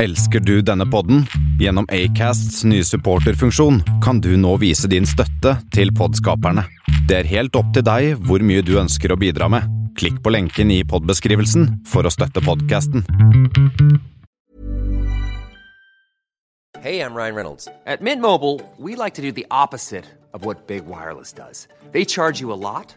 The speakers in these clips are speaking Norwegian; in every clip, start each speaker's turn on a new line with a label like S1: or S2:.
S1: Elsker du denne podden? Gjennom Acasts nye supporterfunksjon kan du nå vise din støtte til podskaperne. Det er helt opp til deg hvor mye du ønsker å bidra med. Klikk på lenken i podbeskrivelsen for å støtte podkasten.
S2: Hey, I'm Ryan Reynolds. At Mint Mobile, we like to do the opposite of what Big Wireless does. They charge you a lot,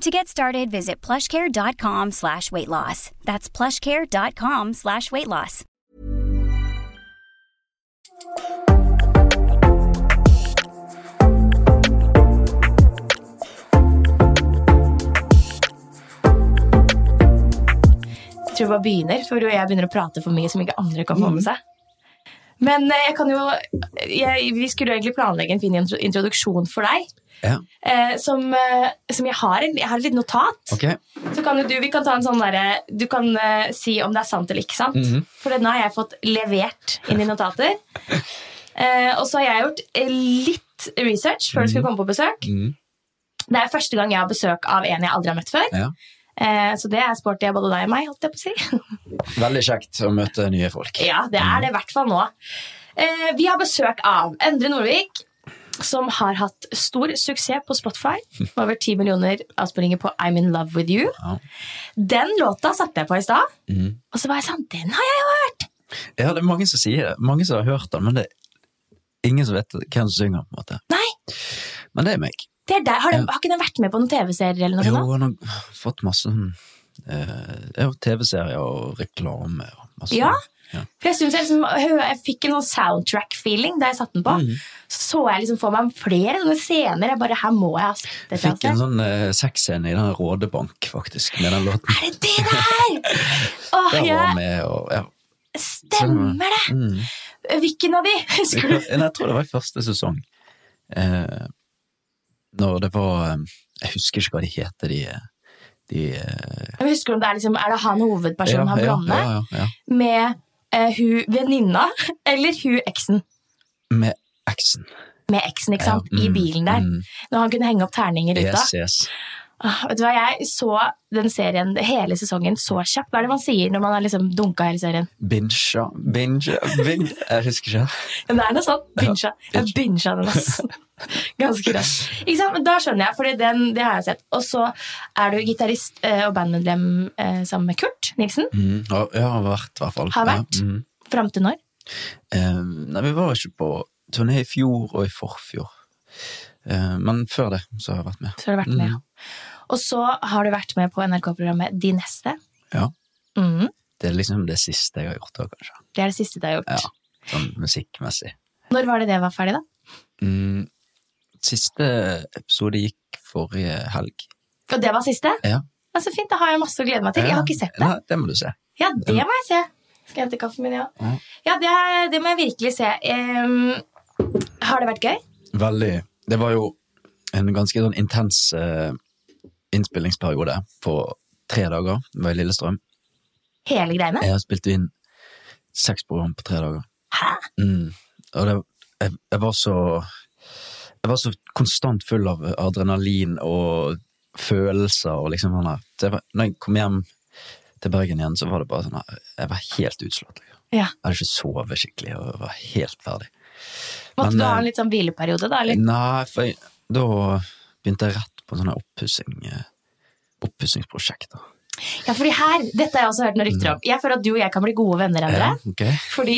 S3: To get started, visit plushcare.com slash weight loss. That's plushcare.com slash weight loss.
S4: Jeg tror jeg bare begynner, for jeg begynner å prate for mye som ikke andre kan få
S5: Mm.
S4: med seg. Men eh, jeg kan jo jeg, Vi skulle jo egentlig planlegge en fin intro- introduksjon for deg.
S5: Ja.
S4: eh, som, eh, som jeg har. En, jeg har et lite notat.
S5: Ok.
S4: Så kan jo du, vi kan ta en sånn derre Du kan eh, si om det er sant eller ikke sant.
S5: Mhm.
S4: For nå har jeg fått levert inn i notater. Eh, og så har jeg gjort eh, litt research før du skulle komme på besøk.
S5: Mhm.
S4: Det er første gang jeg har besøk av en jeg aldri har møtt før.
S5: Ja.
S4: Eh, så det er sporty av både deg og meg, holdt jeg på å si.
S5: Veldig kjekt å møte nye folk.
S4: Ja, det er det i hvert fall nå. Eh, vi har besøk av Endre Norvik, som har hatt stor suksess på Spotify. Over 10 millioner avspillinger på I'm in love with you.
S5: Ja.
S4: Den låta satte jeg på i stad,
S5: Mhm.
S4: og så var jeg sånn Den har jeg jo hørt!
S5: Ja, det er mange som sier det. Mange som har hørt den, men det er ingen som vet hvem som synger. på en måte.
S4: Nei,
S5: Men det er meg.
S4: det er der. Har, den,
S5: Ja.
S4: har ikke den vært med på noen TV-serier eller noe
S5: Jo,
S4: sånt? da?
S5: han har fått masse sånn eh, ja, TV-serier og reklame og masse sånn.
S4: Ja.
S5: Ja.
S4: For jeg, synes jeg, liksom, hø- jeg fikk en sånn soundtrack-feeling da jeg satte den på.
S5: Mhm.
S4: Så så jeg liksom for meg flere sånne scener. Jeg bare, her må jeg ha sett dette.
S5: Fikk en
S4: altså.
S5: sånn eh, sexscene i den Rådebank, faktisk, med den låten.
S4: Er det det der?! Åh,
S5: Der sånn var
S4: jeg
S5: han med, og ja.
S4: Stemmer det! Hvilken av de? Husker du?
S5: Nei, Jeg tror det var i første sesong. Eh, når det var eh, Jeg husker ikke hva de heter, de, eh, de eh,
S4: Jeg husker om det er, liksom, er det han hovedpersonen har
S5: ja,
S4: blonde
S5: ja, ja, ja.
S4: med eh, hun venninna eller hun eksen?
S5: Med eksen.
S4: Med eksen, ikke
S5: Ja,
S4: sant? I
S5: mm,
S4: bilen der.
S5: mm.
S4: Når han kunne henge opp terninger ut av.
S5: Yes, yes.
S4: Åh, Vet du hva, Jeg så den serien hele sesongen så kjapt. Hva er det man sier når man har liksom dunka hele serien?
S5: Binge, binge, binge Jeg husker ikke.
S4: Men det er noe sånt. Binsja. Jeg binsja den, altså. Ganske raskt. Ikke sant? Men da skjønner jeg, for den, det har jeg sett. Og så er du gitarist eh, og bandmedlem eh, sammen med Kurt Nilsen.
S5: Mm, ja, ja, har vært, i hvert fall.
S4: Har vært.
S5: Ja, mm.
S4: Fram til når?
S5: Eh, nei, vi var ikke på turné i fjor og i forfjor. Eh, men før det så har jeg vært med.
S4: Så har du vært med.
S5: Mm.
S4: Og så har du vært med på NRK-programmet De neste.
S5: Ja.
S4: Mhm.
S5: Det er liksom det siste jeg har gjort da, kanskje.
S4: Det er det siste du har gjort.
S5: Ja. Sånn musikkmessig.
S4: Når var det det var ferdig, da?
S5: Mm, siste episode gikk forrige helg.
S4: Og det var siste?
S5: Ja.
S4: Ja, så fint, da har jeg masse å glede meg til. Jeg har ikke sett det.
S5: Nei, det må du se.
S4: Ja, det må jeg se. Skal jeg hente kaffen min, ja?
S5: Ja.
S4: Ja, det, er- det må jeg virkelig se. Ehm, har det vært gøy?
S5: Veldig. Det var jo en ganske sånn intens eh, innspillingsperiode på tre dager. Det var i Lillestrøm.
S4: Hele greiene?
S5: Jeg har spilt inn seks program på tre dager.
S4: Hæ?
S5: Mm. Og det, jeg, jeg var så Jeg var så konstant full av adrenalin og følelser og liksom sånn her. Så jeg var- Når jeg kom hjem til Bergen igjen, så var det bare sånn her Jeg var helt utslått. Liksom.
S4: Ja.
S5: Jeg hadde ikke sovet skikkelig og jeg var helt ferdig.
S4: Måtte
S5: Men,
S4: du ha en
S5: eh,
S4: litt sånn hvileperiode, da? Eller?
S5: Nei, for jeg, da begynte jeg rett på sånne oppussing, eh, oppussingsprosjekter.
S4: Ja, fordi her, Dette har jeg også hørt noen rykter om. Jeg føler at du og jeg kan bli gode venner. Endre.
S5: ok.
S4: Fordi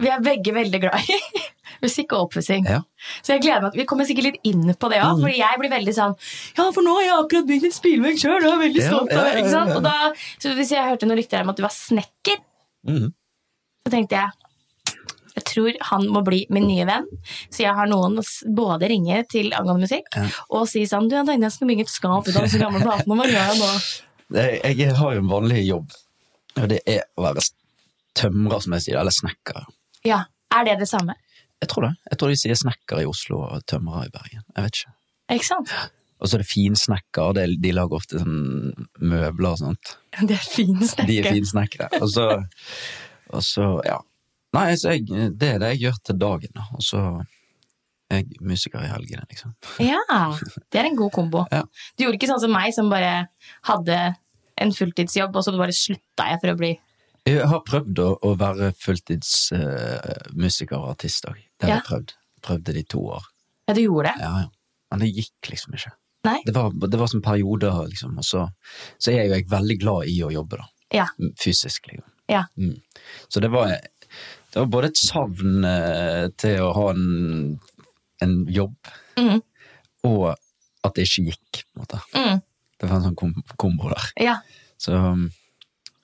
S4: vi er begge veldig glad i Musikk og opppussing.
S5: Ja. Mm.
S4: Så jeg gleder meg at Vi kommer sikkert litt inn på det òg, Fordi jeg blir veldig sånn Ja, for nå har jeg akkurat bygd en spillvegg sjøl, og jeg er veldig
S5: Ja,
S4: stolt
S5: ja,
S4: av
S5: ja,
S4: det.
S5: ja,
S4: Ikke sant?
S5: ja.
S4: Og da, så hvis jeg hørte noen rykter om at du var snekker,
S5: Mhm.
S4: så tenkte jeg jeg tror han må bli min nye venn, så jeg har noen å s- både ringe til angående musikk og si sånn Du, jeg tenkte jeg skulle bygge et skap ut av disse gamle platene, hva gjør jeg nå?
S5: Jeg, jeg har jo en vanlig jobb, og det er å være tømrer, som jeg sier, eller snekker.
S4: Ja, Er det det samme?
S5: Jeg tror det. Jeg tror de sier snekker i Oslo og tømrer i Bergen. Jeg vet ikke.
S4: Ikke sant?
S5: Og så er det finsnekker, det, er- de lager ofte sånn møbler og sånt.
S4: Det er fin snekker.
S5: De er finsnekkere. Og så, og så ja. Nei, så jeg, det er det jeg gjør til dagen, da. Og så er jeg musiker i helgene, liksom.
S4: Ja, det er en god kombo.
S5: Ja.
S4: Du gjorde ikke sånn som meg, som bare hadde en fulltidsjobb, og så bare slutta jeg for å bli
S5: Jeg har prøvd å, å være fulltidsmusiker og artist òg. Det har
S4: Ja.
S5: jeg prøvd. Prøvde det i to år.
S4: Ja, du gjorde det?
S5: Ja, ja. Men det gikk liksom ikke.
S4: Nei?
S5: Det var, det var sånn perioder, liksom. Og så, så er jo jeg veldig glad i å jobbe, da.
S4: Ja.
S5: Fysisk, liksom.
S4: ja.
S5: Mm. Så det var, det var både et savn eh, til å ha en, en jobb, og at det ikke gikk, på en måte.
S4: Mm.
S5: Det var en sånn kom kombo der.
S4: ja.
S5: Så um,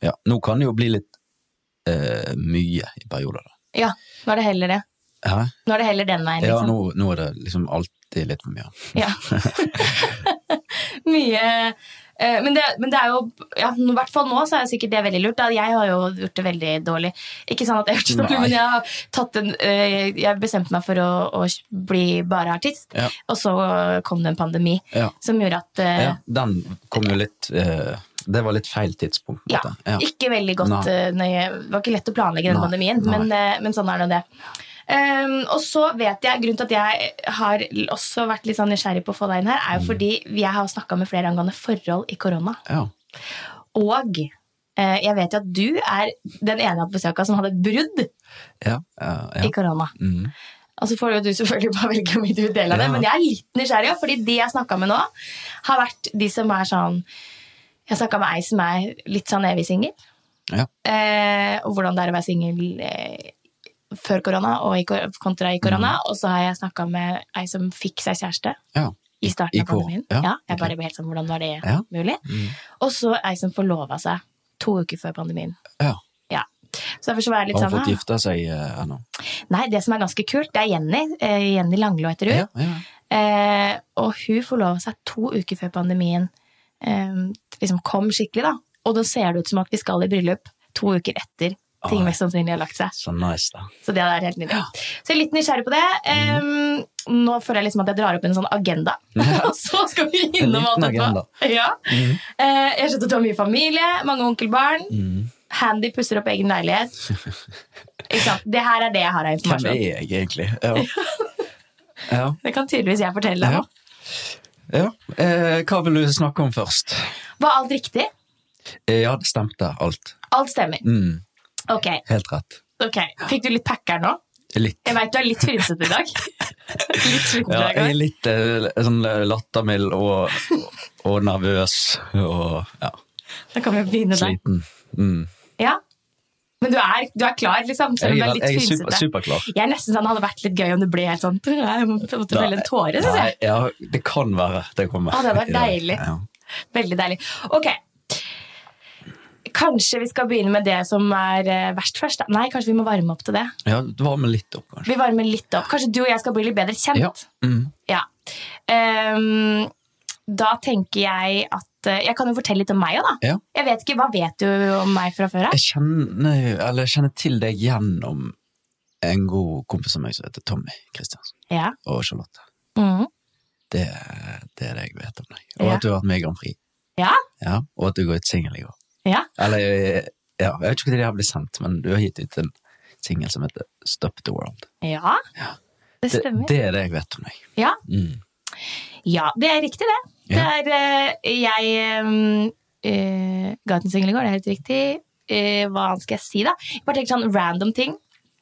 S5: ja, nå kan det jo bli litt eh, mye i perioder, da.
S4: Ja. Nå er det heller det.
S5: Hæ?
S4: Nå er det heller den veien,
S5: Ja,
S4: liksom.
S5: nå, nå er det liksom alltid litt for mye.
S4: Ja. Mye eh, men det, men det er jo ja, I hvert fall nå så er jo sikkert det veldig lurt. Da. Jeg har jo gjort det veldig dårlig. Ikke sånn at jeg har gjort det dårlig,
S5: Nei.
S4: men jeg har tatt en eh, Jeg bestemte meg for å, å bli bare artist,
S5: Ja.
S4: og så kom det en pandemi
S5: Ja.
S4: som gjorde at eh,
S5: Ja, den kom jo litt eh, Det var litt feil tidspunkt. på en
S4: Ja,
S5: måte.
S4: ikke veldig godt
S5: Nei.
S4: eh, nøye. Det var ikke lett å planlegge den
S5: Nei,
S4: pandemien,
S5: nei.
S4: men, eh, men sånn er nå det. Ehm, og så vet jeg, Grunnen til at jeg har l- også vært litt sånn nysgjerrig på å få deg inn her, er jo
S5: Mm.
S4: fordi jeg har snakka med flere angående forhold i korona.
S5: Ja.
S4: Og eh, jeg vet jo at du er den ene jeg har besøk av som hadde et brudd
S5: Ja. Ja, ja.
S4: i korona.
S5: Mm.
S4: Og så får jo du selvfølgelig bare velge om du vil dele av det,
S5: Ja.
S4: men jeg er litt nysgjerrig, også, fordi de jeg snakka med nå, har vært de som er sånn Jeg snakka med ei som er litt sånn evig singel.
S5: Ja.
S4: eh, og hvordan det er å være singel eh, før korona og i, kor- kontra i korona.
S5: Mm.
S4: Og så har jeg snakka med ei som fikk seg kjæreste
S5: ja.
S4: i starten
S5: i
S4: av
S5: kor-
S4: pandemien.
S5: ja,
S4: Ja, jeg
S5: ok.
S4: bare ble helt sånn, hvordan var det
S5: Ja. Mm.
S4: mulig? Og så ei som forlova seg to uker før pandemien.
S5: ja.
S4: Ja. Så derfor så var jeg litt
S5: Har hun
S4: sånn
S5: fått
S4: «Ah,
S5: gifta seg eh, ennå?
S4: Nei, det som er ganske kult, det er Jenny. Eh, Jenny Langlå heter hun.
S5: Ja, ja.
S4: Eh, og hun forlova seg to uker før pandemien eh, liksom kom skikkelig, da. Og da ser det ut som at vi skal i bryllup to uker etter ting
S5: Oi.
S4: mest sannsynlig har lagt seg.
S5: Så nice, da.
S4: Så det er helt nydelig. Så jeg er litt nysgjerrig på det.
S5: Mm.
S4: Ehm, Nå føler jeg liksom at jeg drar opp en sånn agenda, og så skal vi innom alt
S5: liten
S4: etterpå.
S5: agenda. Mm.
S4: Ja. Eh, Jeg skjønner at du har mye familie, mange onkelbarn.
S5: Mm.
S4: Handy pusser opp egen leilighet. Ikke sant? Det her er det jeg har av
S5: Hvem er
S4: informasjon.
S5: jeg egentlig? Ja. Ja.
S4: Det kan tydeligvis jeg fortelle deg
S5: ja.
S4: nå.
S5: ja. Eh, hva vil du snakke om først?
S4: Var alt riktig?
S5: Eh, ja, det stemte, alt.
S4: Alt stemmer.
S5: Mm.
S4: Ok,
S5: Helt rett.
S4: ok. Fikk du litt packeren nå?
S5: Litt.
S4: Jeg veit du er litt frynsete i dag. litt frynsete i
S5: Ja, jeg
S4: dag.
S5: er litt eh, sånn eh, lattermild og, og nervøs og ja,
S4: Da kan vi begynne der.
S5: sliten. Mm.
S4: Ja. Men du er, du er klar, liksom? Selv om
S5: Jeg
S4: du
S5: er,
S4: er litt
S5: jeg er
S4: frynsete.
S5: super, superklar.
S4: Jeg er nesten sånn, Det hadde vært litt gøy om det ble helt sånn Jeg måtte felle en tåre, synes
S5: Nei,
S4: jeg.
S5: Ja, det kan være det kommer.
S4: Å, det hadde vært
S5: i dag.
S4: deilig.
S5: Ja.
S4: Veldig deilig. Ok. Kanskje vi skal begynne med det som er eh, verst først? da? Nei, kanskje vi må varme opp til det.
S5: Ja, du varmer litt opp, kanskje.
S4: Vi varmer litt opp. Kanskje du og jeg skal bli litt bedre kjent?
S5: Ja. Mm.
S4: Ja. Ehm, da tenker jeg at eh, Jeg kan jo fortelle litt om meg òg, da.
S5: Ja.
S4: Jeg vet ikke, Hva vet du om meg fra før av?
S5: Jeg kjenner, jo- eller jeg kjenner til deg gjennom en god kompis av meg som heter Tommy Kristiansen,
S4: Ja.
S5: og Charlotte.
S4: Mhm.
S5: Det, det er det jeg vet om deg. Og
S4: Ja.
S5: at du har vært med i Grand Prix.
S4: ja.
S5: Ja, og at du går ut singel i går.
S4: Ja.
S5: Eller ja, jeg vet ikke når det her blir sendt, men du har gitt ut en singel som heter Stop the World.
S4: Ja. Det
S5: Det,
S4: stemmer.
S5: det er det jeg vet om deg.
S4: Ja.
S5: Mm.
S4: Ja, det er riktig, det.
S5: Ja.
S4: Det er eh, Jeg um, uh, ga ut en singel i går, det er helt riktig. Eh, hva annet skal jeg si, da? Jeg bare tenker sånn random ting.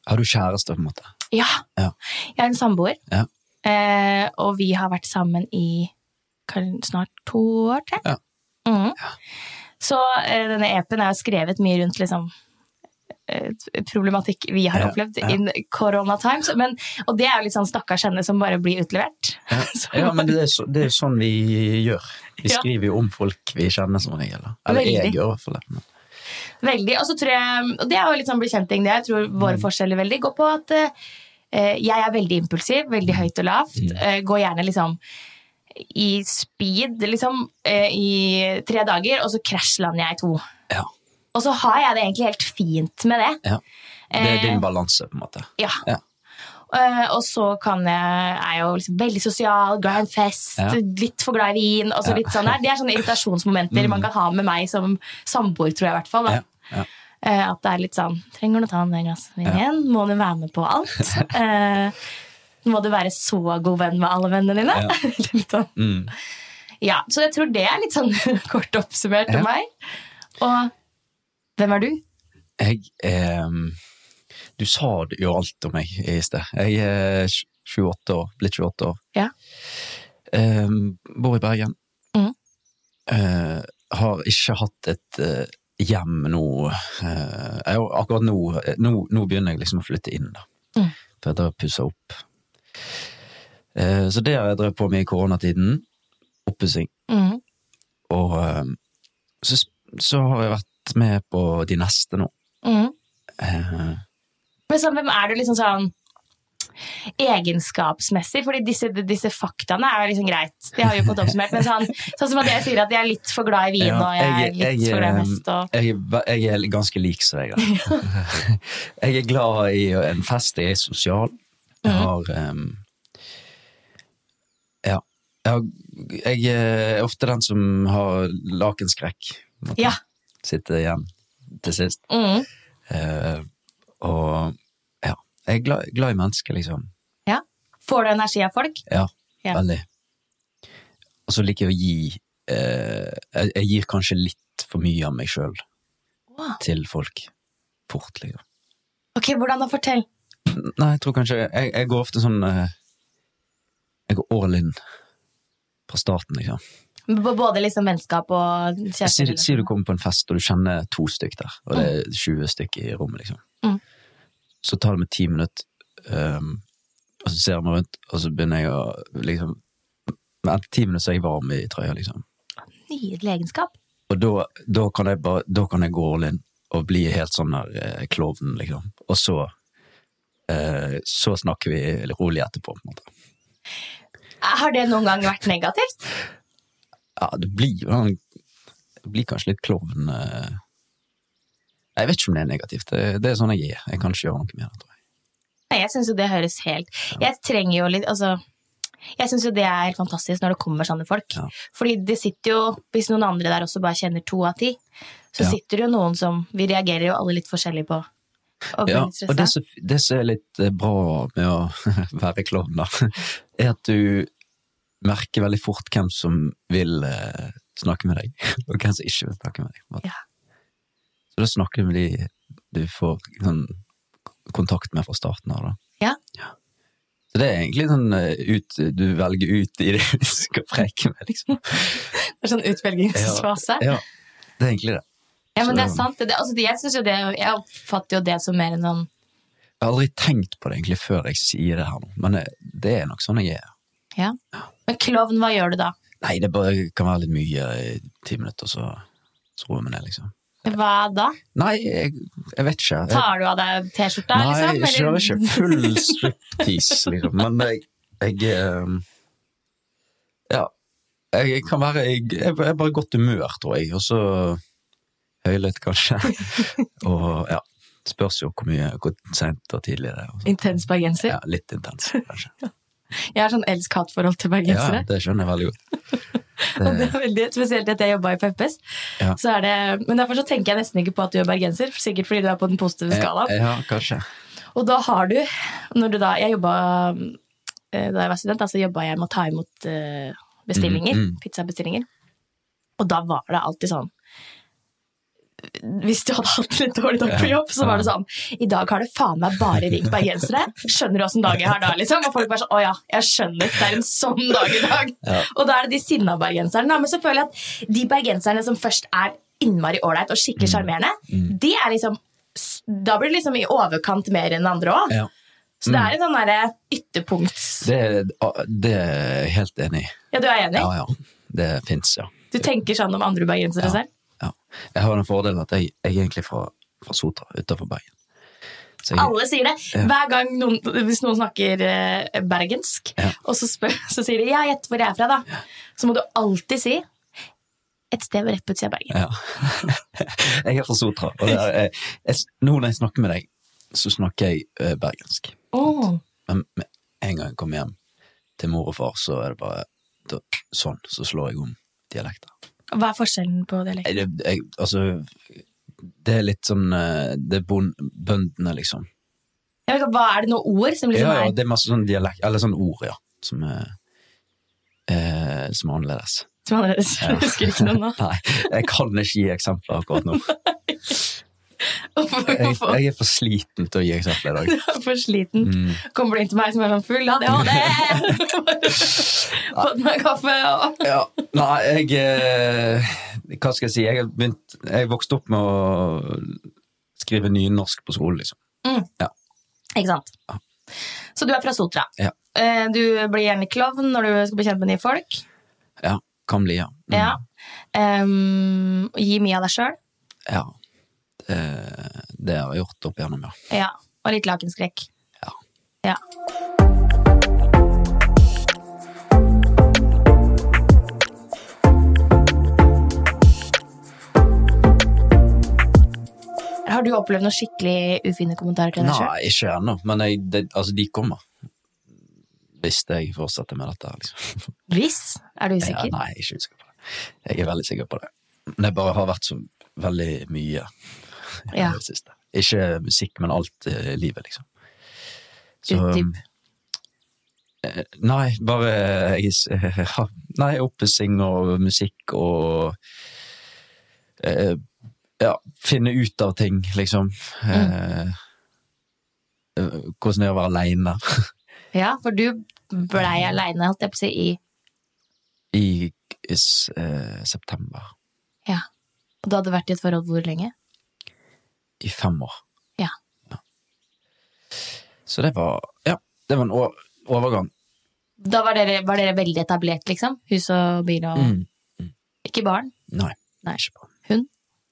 S5: Har du kjæreste, på en måte?
S4: Ja!
S5: Ja.
S4: Jeg er en samboer,
S5: Ja.
S4: eh, og vi har vært sammen i kan, snart to år til. Mm.
S5: Ja.
S4: Mhm. Så eh, denne EP-en er jo skrevet mye rundt liksom eh, problematikk vi har
S5: Ja,
S4: opplevd
S5: ja.
S4: in corona times. Men, og det er jo litt sånn stakkars henne som bare blir utlevert. Så-
S5: Ja, men det er, så, det er jo sånn vi gjør. Vi
S4: Ja.
S5: skriver jo om folk vi kjenner som regel. da. Eller
S4: Veldig.
S5: jeg gjør i hvert fall det. men-
S4: Veldig. Og så tror jeg, og det er jo litt sånn bli kjent-ting, det. Jeg tror våre forskjeller veldig går på at eh, jeg er veldig impulsiv, veldig høyt og lavt. eh, går gjerne liksom i speed, liksom, eh, i tre dager, og så krasjlander jeg i to.
S5: Ja.
S4: Og så har jeg det egentlig helt fint med det.
S5: ja. Det er
S4: Eh,
S5: din balanse, på en måte.
S4: Ja.
S5: Ja.
S4: Eh, og så kan jeg, er jeg jo liksom veldig sosial, glad i en fest,
S5: Ja.
S4: litt for glad i vin. Og så
S5: Ja. Mm.
S4: litt sånn der. Det er sånne irritasjonsmomenter man kan ha med meg som samboer, tror jeg i hvert fall. Da.
S5: Ja, ja.
S4: Eh, at det er litt sånn Trenger du å ta en del glass vin igjen? Må du være med på alt? Eh, må du være så god venn med alle vennene dine? litt sånn.
S5: Mm.
S4: Ja, så jeg tror det er litt sånn kort oppsummert
S5: Ja.
S4: om meg. Og hvem er du?
S5: Jeg ehm, Du sa det jo alt om meg i sted. Jeg er tj- 28 år, blitt 28 år.
S4: Ja.
S5: Ehm, bor i Bergen.
S4: Mhm.
S5: Eh, har ikke hatt et eh, hjem nå eh, jeg, har- Akkurat nå, eh, nå Nå begynner jeg liksom å flytte inn, da.
S4: Mhm.
S5: For jeg har pussa opp. Eh, så det har jeg drevet på med i koronatiden. Oppussing.
S4: Mm.
S5: Og eh, så, så har jeg vært med på de neste nå.
S4: Mm.
S5: Eh,
S4: Men sånn, hvem er du liksom sånn egenskapsmessig? Fordi disse, disse faktaene er jo liksom greit. Det har vi jo fått oppsummert. Men sånn, sånn som at jeg sier at jeg er litt for glad i vin,
S5: Ja,
S4: og jeg er
S5: jeg-
S4: litt
S5: jeg,
S4: for glad i
S5: eh,
S4: hest. Og...
S5: Jeg, er ve- jeg er ganske lik Sveg, da. jeg er glad i en fest, jeg er sosial. Jeg har em, Ja. Jeg, har, jeg eh, er ofte den som har lakenskrekk. på en måte.
S4: Ja.
S5: Sitter igjen til sist.
S4: Mm.
S5: Eh, og ja. Jeg er glad, glad i mennesker, liksom.
S4: Ja. Får du energi av folk?
S5: Ja,
S4: Ja.
S5: veldig. Og så liker jeg å gi eh, jeg, jeg gir kanskje litt for mye av meg sjøl
S4: Wow.
S5: til folk. Fort, liksom.
S4: Ok, hvordan da? Fortell.
S5: Nei, jeg tror kanskje Jeg, jeg går ofte sånn eh, Jeg går all in fra starten, liksom.
S4: B- Både liksom vennskap og
S5: Si,
S4: kjæreste?
S5: si du kommer på en fest og du kjenner to stykk der, og det er 20 stykk i rommet, liksom.
S4: Mm.
S5: Så tar det meg ti minutter, ehm, og så ser jeg meg rundt, og så begynner jeg å liksom Men etter ti minutter så er jeg varm i trøya, liksom.
S4: Nydelig egenskap.
S5: Og da, da, kan jeg bare, da kan jeg gå all in og bli helt sånn der eh, klovn, liksom. Og så eh, Så snakker vi rolig etterpå, på en måte.
S4: Har det noen gang vært negativt?
S5: Ja, det blir jo en- Det blir kanskje litt klovn eh. Jeg vet ikke om det er negativt. Det, det er sånn jeg er. Jeg kan ikke gjøre noe mer, tror jeg.
S4: Nei, jeg syns jo det høres helt Jeg trenger jo litt Altså, jeg syns jo det er helt fantastisk når det kommer sånne folk.
S5: Ja.
S4: Fordi det sitter jo Hvis noen andre der også bare kjenner to av ti, så
S5: Ja.
S4: sitter det jo noen som Vi reagerer jo alle litt forskjellig på å bli
S5: Ja,
S4: litt
S5: og
S4: stressa.
S5: det som det som er litt eh, bra med å være klovn, da, er at du merker veldig fort hvem som vil eh, snakke med deg, og hvem som ikke vil snakke med deg. på en måte.
S4: Ja.
S5: Så da snakker du med de du får sånn, kontakt med fra starten av. Da.
S4: Ja.
S5: Så det er egentlig sånn eh, ut, du velger ut de du skal preke med, liksom.
S4: Det er sånn utvelgingsfase. Ja,
S5: Ja, det er egentlig det.
S4: men det er
S5: så-
S4: sant. Det, altså, jeg, synes jo det, jeg oppfatter jo det som mer enn noen
S5: Jeg har aldri tenkt på det egentlig før jeg sier det her nå, men eh, det er nok sånn jeg er.
S4: ja. Men klovn, hva gjør du da?
S5: Nei, det bare kan være litt mye i ti minutter, så, så roer jeg meg ned, liksom.
S4: Hva da?
S5: Nei, jeg, jeg vet ikke. Jeg,
S4: Tar du av deg T-skjorta,
S5: nei,
S4: liksom?
S5: jeg
S4: eller-
S5: kjører ikke full striptease, liksom. Men jeg, jeg ehm, Ja. Jeg, jeg kan være jeg, jeg er bare i godt humør, tror jeg, og så høylytt, kanskje. Og ja. Spørs jo hvor mye hvor sent og tidlig det er. og sånn.
S4: Intens bergenser?
S5: Ja, litt intens, kanskje.
S4: Jeg har sånn elsk-hat-forhold til
S5: Ja,
S4: bergensere.
S5: det skjønner jeg veldig godt.
S4: Og det er veldig spesielt at jeg jobba i Peppes.
S5: Ja.
S4: Så er det, men derfor så tenker jeg nesten ikke på at du er bergenser, sikkert fordi du er på den
S5: Eh,
S4: positive skalaen.
S5: Ja, kanskje.
S4: Og da har du, når du da Jeg jobba eh, da jeg var student, da, så jobba jeg med å ta imot eh, bestillinger.
S5: Mhm, mhm.
S4: Pizzabestillinger. Og da var det alltid sånn hvis du hadde hatt en litt dårlig dag på jobb, så var det sånn I dag har det faen meg bare ringt bergensere. Skjønner du åssen dag jeg har da, liksom? Og folk bare sånn Å ja, jeg skjønner. Det er en sånn dag i dag. Og da er det de sinna bergenserne. da. Men så
S5: Mm.
S4: føler jeg at de bergenserne som først er innmari ålreit og skikkelig sjarmerende, det er liksom s- Da blir det liksom i overkant mer enn andre òg.
S5: Ja. Mm.
S4: Så det er en sånn derre ytterpunkts...
S5: Det, det er jeg helt enig i.
S4: Ja, du er enig?
S5: Ja, ja. Det fins, ja.
S4: Du tenker sånn om andre bergensere
S5: Ja.
S4: selv?
S5: ja. Jeg har den fordelen at jeg, jeg er egentlig fra, fra Sotra, utafor Bergen. Så jeg,
S4: Alle sier det. Hver gang noen, hvis noen snakker eh, bergensk,
S5: Ja.
S4: og så, spør, så sier de 'ja, gjett hvor jeg er fra', da. Så må du alltid si et sted rett på utsida av Bergen.
S5: ja. jeg er fra Sotra. Og det er, jeg, jeg, nå når jeg snakker med deg, så snakker jeg eh, bergensk.
S4: Åh.
S5: Men med en gang jeg kommer hjem til mor og far, så er det bare da, sånn. Så slår jeg om dialekter.
S4: Hva er forskjellen på liksom? dialekt?
S5: Jeg, det- jeg, altså Det er litt sånn eh, Det er bond, bøndene, liksom.
S4: Jeg vet ikke, Hva er det noen ord som liksom
S5: Ja, ja,
S4: er
S5: det er masse sånn dialekt Eller sånn ord, ja. Som er, eh, som er annerledes.
S4: som er annerledes? Jeg husker ikke noe nå.
S5: Nei, jeg kan ikke gi eksempler akkurat nå.
S4: Hvorfor-
S5: Jeg,
S4: Hvorfor
S5: jeg er for sliten til å gi eksempler i dag.
S4: jeg er for sliten?
S5: Mm.
S4: Kommer du inn til meg som er sånn full av ADHD? Fått meg kaffe og
S5: Ja, nei, jeg eh, Hva skal jeg si? Jeg, har begynt, jeg vokste opp med å skrive nynorsk på skolen, liksom.
S4: Ikke sant. Så du er fra Sotra.
S5: Ja.
S4: Eh, Du blir gjerne klovn når du skal bli kjent med nye folk.
S5: ja kan bli, ja. Mm,
S4: Ja. Ehm, gi mye av deg sjøl.
S5: ja. Eh, det har jeg gjort opp igjennom, ja.
S4: Ja. Og litt lakenskrekk.
S5: Ja.
S4: Ja. Har du opplevd noen skikkelig ufine kommentarer til deg sjøl?
S5: Nei, ikke ennå, men jeg, det, altså, de kommer. Hvis jeg fortsetter med dette, liksom.
S4: Hvis? Er du
S5: Ja,
S4: usikker?
S5: nei, jeg er ikke usikker på det. Jeg er veldig sikker på det. Men det bare har vært så veldig mye i
S4: Ja.
S5: det siste. Ikke musikk, men alt eh, livet, liksom. um,
S4: Utdyp.
S5: eh, Nei, bare eh, jeg, s- ja, Nei, oppussing og musikk og eh, Ja, finne ut av ting, liksom.
S4: Mm.
S5: Eh, eh, hvordan det er å være aleine
S4: Ja, for du blei aleine, holdt jeg på å si, i
S5: i, i s- eh, september.
S4: Ja. Og du hadde vært i et forhold hvor lenge?
S5: i fem år.
S4: Ja.
S5: Så det var Ja, det var en o- overgang.
S4: Da var dere, var dere veldig etablert, liksom? Hus og bil og
S5: Mm.
S4: Ikke barn?
S5: Nei.
S4: Nei.
S5: Ikke bra.
S4: Hund?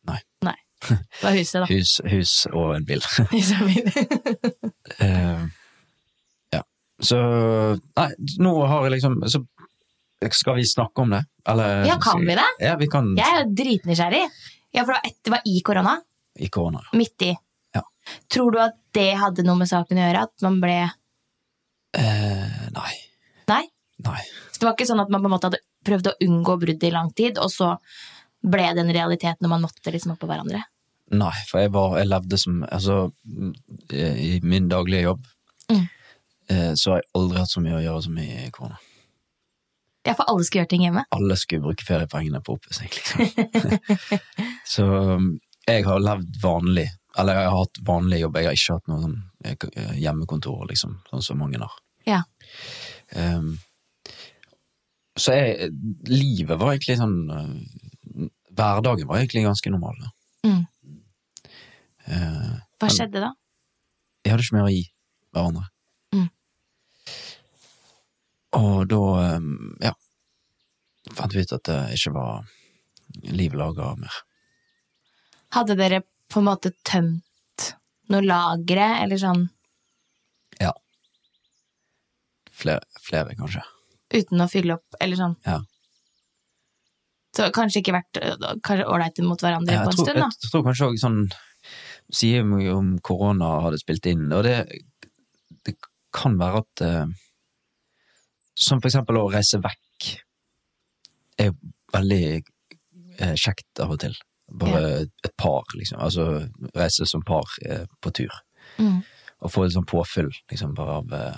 S5: Nei.
S4: Nei. Det var huset, da.
S5: Hus, hus og en bil.
S4: Hus og bil.
S5: Eh, ja. Så Nei, nå har jeg liksom så, Skal vi snakke om det? Eller
S4: Ja, kan vi det?
S5: Ja, vi kan
S4: Jeg er jo dritnysgjerrig. Ja, for det var et- det var i korona.
S5: i korona.
S4: Midt i.
S5: Ja.
S4: Tror du at det hadde noe med saken å gjøre? At man ble
S5: Eh, nei.
S4: Nei?
S5: Nei.
S4: Så det var ikke sånn at man på en måte hadde prøvd å unngå bruddet i lang tid, og så ble det en realitet når man måtte liksom oppå hverandre?
S5: Nei, for jeg, var, jeg levde som Altså, eh, i min daglige jobb
S4: Mm.
S5: eh, så har jeg aldri hatt så mye å gjøre som i korona.
S4: Ja, for alle skal gjøre ting hjemme.
S5: alle skulle bruke feriepengene på oppussing, liksom. så um, jeg har levd vanlig, eller jeg har hatt vanlig jobb, jeg har ikke hatt noe sånn, eh, k- eh, hjemmekontor, liksom, sånn som mange har.
S4: Ja.
S5: Um, så jeg, livet var egentlig sånn eh, Hverdagen var egentlig ganske normal. da.
S4: Mm.
S5: Eh,
S4: Hva skjedde da?
S5: vi hadde ikke mer å gi hverandre.
S4: Mm.
S5: Og da, um, ja Fant vi ut at det ikke var liv laga mer.
S4: Hadde dere på en måte tømt noe lagre, eller sånn,
S5: Ja. Flere, flere kanskje.
S4: uten å fylle opp, eller sånn?
S5: Ja.
S4: Så kanskje ikke vært øh, kanskje ålreite mot hverandre
S5: Ja,
S4: på en
S5: tror,
S4: stund, da?
S5: Jeg tror kanskje også sånn Sier vi jo om korona hadde spilt inn, og det, det kan være at eh, Som for eksempel å reise vekk er jo veldig eh, kjekt av og til. Bare et par, liksom. Altså reise som par eh, på tur.
S4: Mm.
S5: Og få et sånt påfyll, liksom, bare av eh,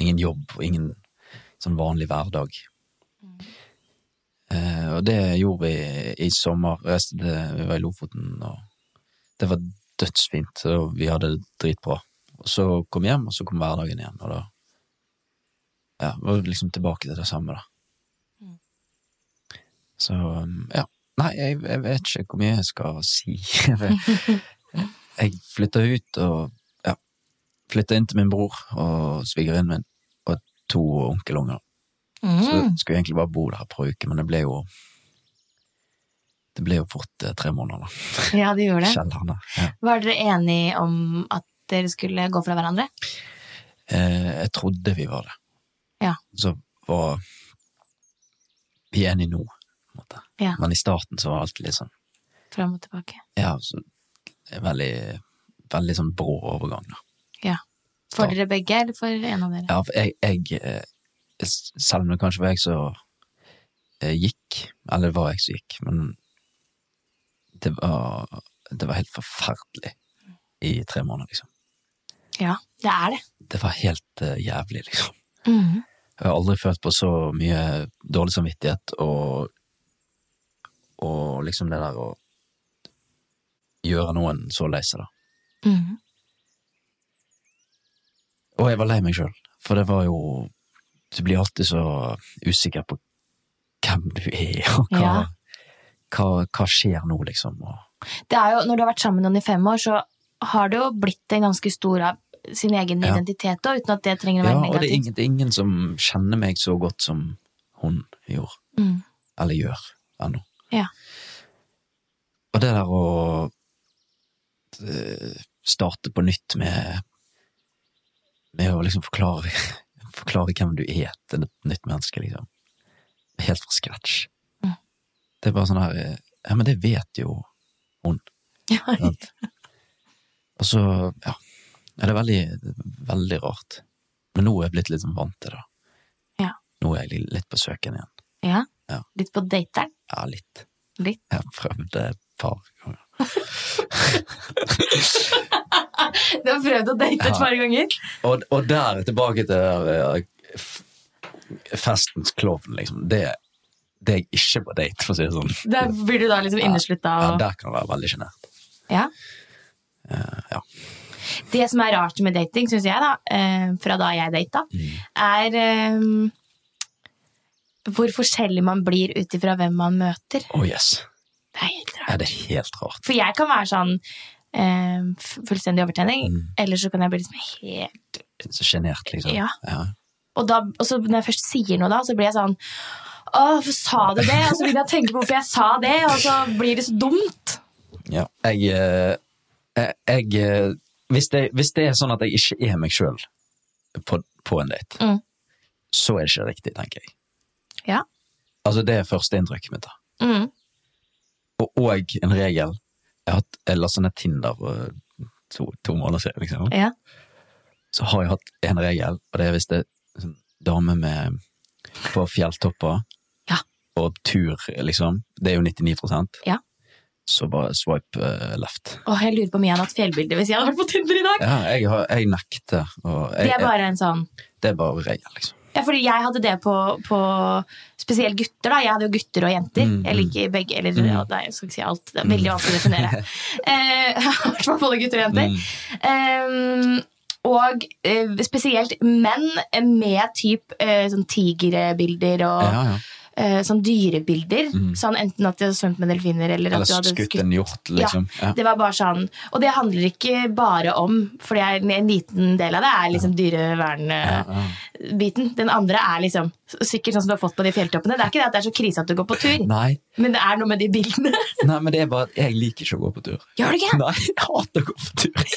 S5: ingen jobb og ingen sånn vanlig hverdag. Eh, og det gjorde vi i sommer. Resten til, vi var i Lofoten, og det var dødsfint, og vi hadde det dritbra. Og så kom vi hjem, og så kom hverdagen igjen, og da ja, var vi liksom tilbake til det samme, da. Så um, ja. Nei, jeg, jeg vet ikke hvor mye jeg skal si. jeg jeg flytta ut og ja, flytta inn til min bror og svigerinnen min og to onkelunger.
S4: Mhm.
S5: Så
S4: Mm.
S5: skulle jeg egentlig bare bo der et par uker, men det ble jo Det ble jo fort eh, tre måneder, da.
S4: Ja, det gjorde det.
S5: Kjellerne. Ja.
S4: Var dere enige om at dere skulle gå fra hverandre?
S5: Eh, jeg trodde vi var det.
S4: Ja.
S5: Så var vi enige nå, på en måte.
S4: Ja.
S5: Men i starten så var det alltid litt sånn
S4: Fram og tilbake.
S5: Ja, så en veldig, veldig sånn brå overgang, da.
S4: Ja. For dere begge, eller for en av dere?
S5: Ja, for jeg, jeg eh, s- Selv om det kanskje var jeg som eh, gikk, eller det var jeg som gikk, men det var, det var helt forferdelig i tre måneder, liksom.
S4: Ja, det er det.
S5: Det var helt eh, jævlig, liksom. Jeg har aldri følt på så mye dårlig samvittighet og Og liksom det der å gjøre noen så lei seg, da. mhm. Og jeg var lei meg sjøl, for det var jo Du blir alltid så usikker på hvem du er, og hva,
S4: Ja.
S5: hva, hva skjer nå, liksom. Og,
S4: Det er jo, når du har vært sammen med noen i fem år, så har det jo blitt en ganske stor av sin egen
S5: Ja.
S4: identitet, da, uten at det trenger å
S5: ja,
S4: være
S5: og det
S4: negativt.
S5: er, ingen, det er ingen som kjenner meg så godt som hun gjorde,
S4: Mm.
S5: eller gjør, ennå.
S4: Ja.
S5: Og det der å eh, starte på nytt med Med å liksom forklare, forklare hvem du er til et nytt menneske, liksom. Helt fra scratch.
S4: Mm.
S5: Det er bare sånn her eh, Ja, men det vet jo hun.
S4: Ja.
S5: Sant? Og så, ja. ja det er veldig, veldig rart. Men nå er jeg blitt litt sånn vant til det.
S4: Ja.
S5: Nå er jeg litt på søken igjen.
S4: Ja.
S5: Ja.
S4: Litt på dateren.
S5: Ja, litt.
S4: Litt.
S5: Jeg har prøvd det et par ganger.
S4: Du har prøvd å date
S5: Ja.
S4: et par ganger.
S5: Og, og der tilbake til det der, eh, f- festens klovn, liksom. Det, det er jeg ikke på date, for å si det sånn.
S4: Da blir du da liksom inneslutta
S5: Ja,
S4: og
S5: der kan jeg være veldig sjenert.
S4: Ja.
S5: Eh, ja.
S4: Det som er rart med dating, syns jeg, da, eh, fra da jeg data,
S5: Mm.
S4: er eh, hvor forskjellig man blir ut ifra hvem man møter.
S5: Å, yes.
S4: Det er helt rart.
S5: Ja, det er helt rart.
S4: For jeg kan være sånn eh, f- fullstendig overtenning,
S5: Mm.
S4: eller så kan jeg bli liksom helt
S5: Så sjenert, liksom.
S4: Ja.
S5: ja.
S4: og, da, og så når jeg først sier noe da, så blir jeg sånn Å, hvorfor sa du det? Og så begynner jeg å tenke på hvorfor jeg sa det, og så blir det så dumt.
S5: Ja. Jeg, eh, eh, jeg eh, hvis, det, hvis det er sånn at jeg ikke er meg sjøl på, på en date,
S4: Mm.
S5: så er det ikke riktig, tenker jeg.
S4: Ja.
S5: Altså, det er førsteinntrykket mitt. da.
S4: Mm.
S5: Og, og en regel Jeg har hatt jeg lastet ned Tinder for eh, to, to måneder siden, liksom.
S4: Ja.
S5: Så har jeg hatt en regel, og det er hvis det er sånn dame med, på fjelltopper
S4: Ja.
S5: og tur, liksom, det er jo 99
S4: Ja.
S5: så bare swipe eh, left.
S4: Åh, jeg lurer på om jeg hadde hatt fjellbilde hvis jeg hadde vært på Tinder i dag.
S5: Ja, jeg, har, jeg nekter. Og jeg,
S4: Det er bare en sånn
S5: jeg, det er bare regel, liksom.
S4: Ja, fordi jeg hadde det på, på spesielt gutter, da. Jeg hadde jo gutter og jenter.
S5: Mm,
S4: Jeg liker begge, eller ja, nei, jeg skal ikke si alt. Det er veldig vanskelig å definere. Eh, I hvert fall både gutter og jenter.
S5: Mm.
S4: Eh, og eh, spesielt menn med typ eh, sånn tigerbilder og
S5: Ja, ja.
S4: eh, sånn dyrebilder. Sånn enten at de hadde svømt med delfiner, eller, at
S5: Eller
S4: du hadde
S5: skutt en hjort, liksom.
S4: Ja,
S5: Ja.
S4: det var bare sånn. Og det handler ikke bare om, for det er en liten del av det er liksom dyrevernbiten. Den andre er liksom sikkert sånn som du har fått på de fjelltoppene. Det er ikke det at det er så krise at du går på tur,
S5: Nei,
S4: men det er noe med de bildene.
S5: nei, men det er bare at jeg liker ikke å gå på tur.
S4: Gjør du ikke?
S5: Nei, jeg hater å gå på tur.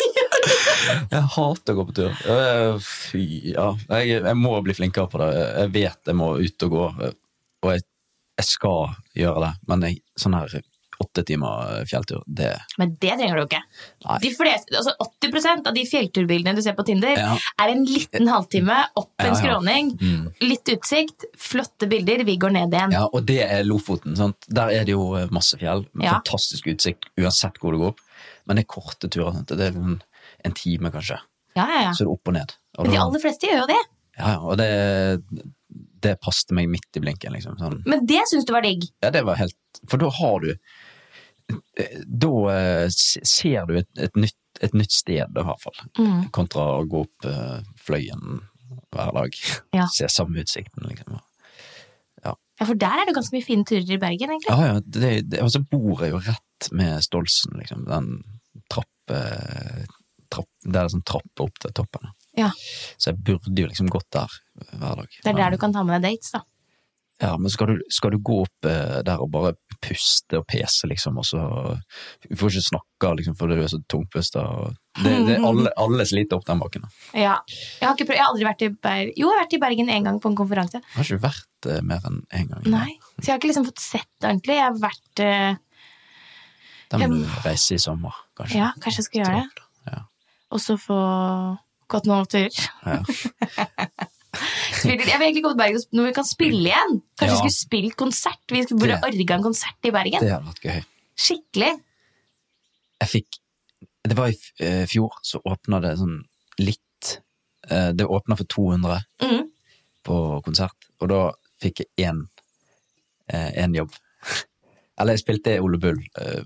S5: Jeg hater å gå på tur. Øh, Fy, ja. Jeg, jeg må bli flinkere på det. Jeg vet jeg må ut og gå, og jeg, jeg skal gjøre det. Men jeg, sånn her åtte timer fjelltur, det
S4: Men det trenger du ikke.
S5: Nei.
S4: De fleste, altså 80 av de fjellturbildene du ser på Tinder,
S5: Ja.
S4: er en liten halvtime opp en
S5: Ja, ja.
S4: skråning, litt utsikt, flotte bilder, vi går ned igjen.
S5: Ja, og det er Lofoten. Sant? Der er det jo eh, masse fjell. med
S4: Ja.
S5: Fantastisk utsikt uansett hvor du går opp. Men det er korte turer. Sant? Det er en, en time, kanskje.
S4: Ja, ja, ja.
S5: Så er det opp og ned. Og
S4: Men de
S5: da-
S4: aller fleste gjør jo det.
S5: ja, ja, og det, det passet meg midt i blinken. Liksom. Sånn.
S4: Men det syns du var digg.
S5: Ja, det var helt For da har du eh, Da eh, s- ser du et, et, nytt, et nytt sted, da, i hvert fall. Kontra å gå opp eh, Fløyen hver dag.
S4: Ja.
S5: Se samme utsikten, liksom.
S4: Ja, For der er det ganske mye fine turer i Bergen, egentlig.
S5: altså, Ja, ja, det, det, og så bor jeg jo rett med Stolsen, liksom. Den trappe, der det er sånn trapp opp til toppen.
S4: Ja.
S5: Så jeg burde jo liksom gått der hver dag.
S4: Det er der du kan ta med deg dates, da.
S5: Ja, men skal du, skal du gå opp eh, der og bare puste og pese, liksom, og så Du får ikke snakke, liksom, for du er så tungpusta. og- Det, det, alle, alle sliter opp den bakken. da.
S4: Ja. Jeg, har ikke prøvd, jeg har aldri vært i Bergen Jo, jeg har vært i Bergen én gang på en konferanse.
S5: Jeg har ikke vært eh, mer enn én gang.
S4: Nei, Så jeg har ikke liksom fått sett det ordentlig. Jeg har vært eh,
S5: Da må du reise i sommer, kanskje.
S4: Ja, kanskje jeg skal gjøre det.
S5: Ja.
S4: Og så få gått noen turer.
S5: Ja.
S4: Spille- Jeg vil egentlig komme til Bergen og sp- når vi kan spille igjen. Kanskje
S5: Ja.
S4: vi skulle spilt konsert. Vi skulle burde
S5: Det-
S4: orga en konsert i Bergen.
S5: Det hadde vært gøy.
S4: Skikkelig.
S5: jeg fikk Det var i f- eh, fjor, så åpna det sånn litt eh, Det åpna for 200
S4: Mhm.
S5: på konsert, og da fikk jeg én eh, én jobb. Eller jeg spilte Ole Bull eh,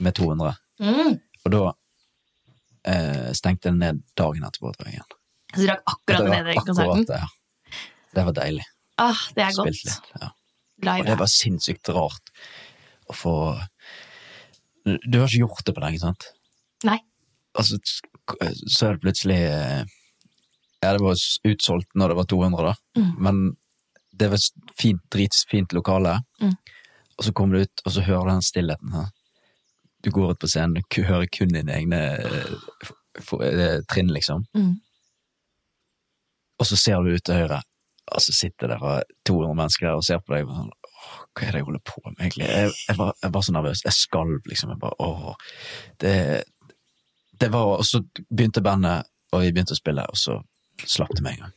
S5: med 200,
S4: Mm.
S5: og da eh, stengte jeg ned dagen etterpå. Tror jeg, igjen.
S4: Så du rakk akkurat
S5: var
S4: ned den konserten?
S5: det, ja. Det var deilig.
S4: Ah, det er
S5: Spilt
S4: godt.
S5: litt. Ja. Og
S4: Live.
S5: det var sinnssykt rart å få Du du har ikke gjort det på lenge, sant?
S4: Nei.
S5: altså, sk- så er det plutselig eh, Ja, det var s- utsolgt når det var 200, da.
S4: Mm.
S5: Men det var s- fint, dritfint lokale.
S4: Mm.
S5: Og så kommer du ut, og så hører du den stillheten her. Du går ut på scenen, du ku- hører kun dine egne eh, f- f- eh, trinn, liksom.
S4: Mm.
S5: Og så ser du ut til høyre, og så sitter det 200 mennesker der og ser på deg. og sånn, «Åh, Hva er det jeg holder på med, egentlig? Jeg, jeg, var, jeg var så nervøs. Jeg skalv, liksom. Jeg bare, åh, det, det var, og så begynte bandet, og vi begynte å spille, og så slapp det med en gang.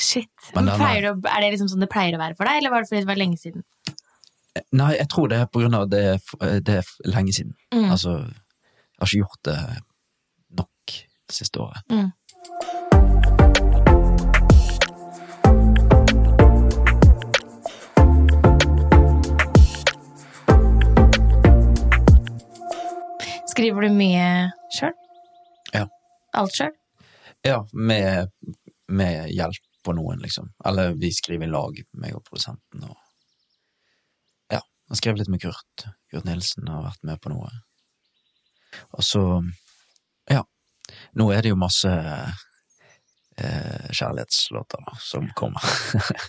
S4: Shit.
S5: Men
S4: Men
S5: den er-
S4: pleier du, å- er det liksom sånn det pleier å være for deg, eller var det fordi det var lenge siden?
S5: Nei, jeg tror det er på grunn av det, er f- det er f- lenge siden.
S4: Mm.
S5: Altså, jeg har ikke gjort det nok det siste året.
S4: Skriver du mye sjøl?
S5: Ja.
S4: Alt sjøl?
S5: Ja, med, med hjelp på noen, liksom. Eller vi skriver i lag, meg og produsenten. Og, ja, jeg skrev litt med Kurt. Kurt Nilsen har vært med på noe. Og så, ja. Nå er det jo masse eh, kjærlighetslåter da, som kommer.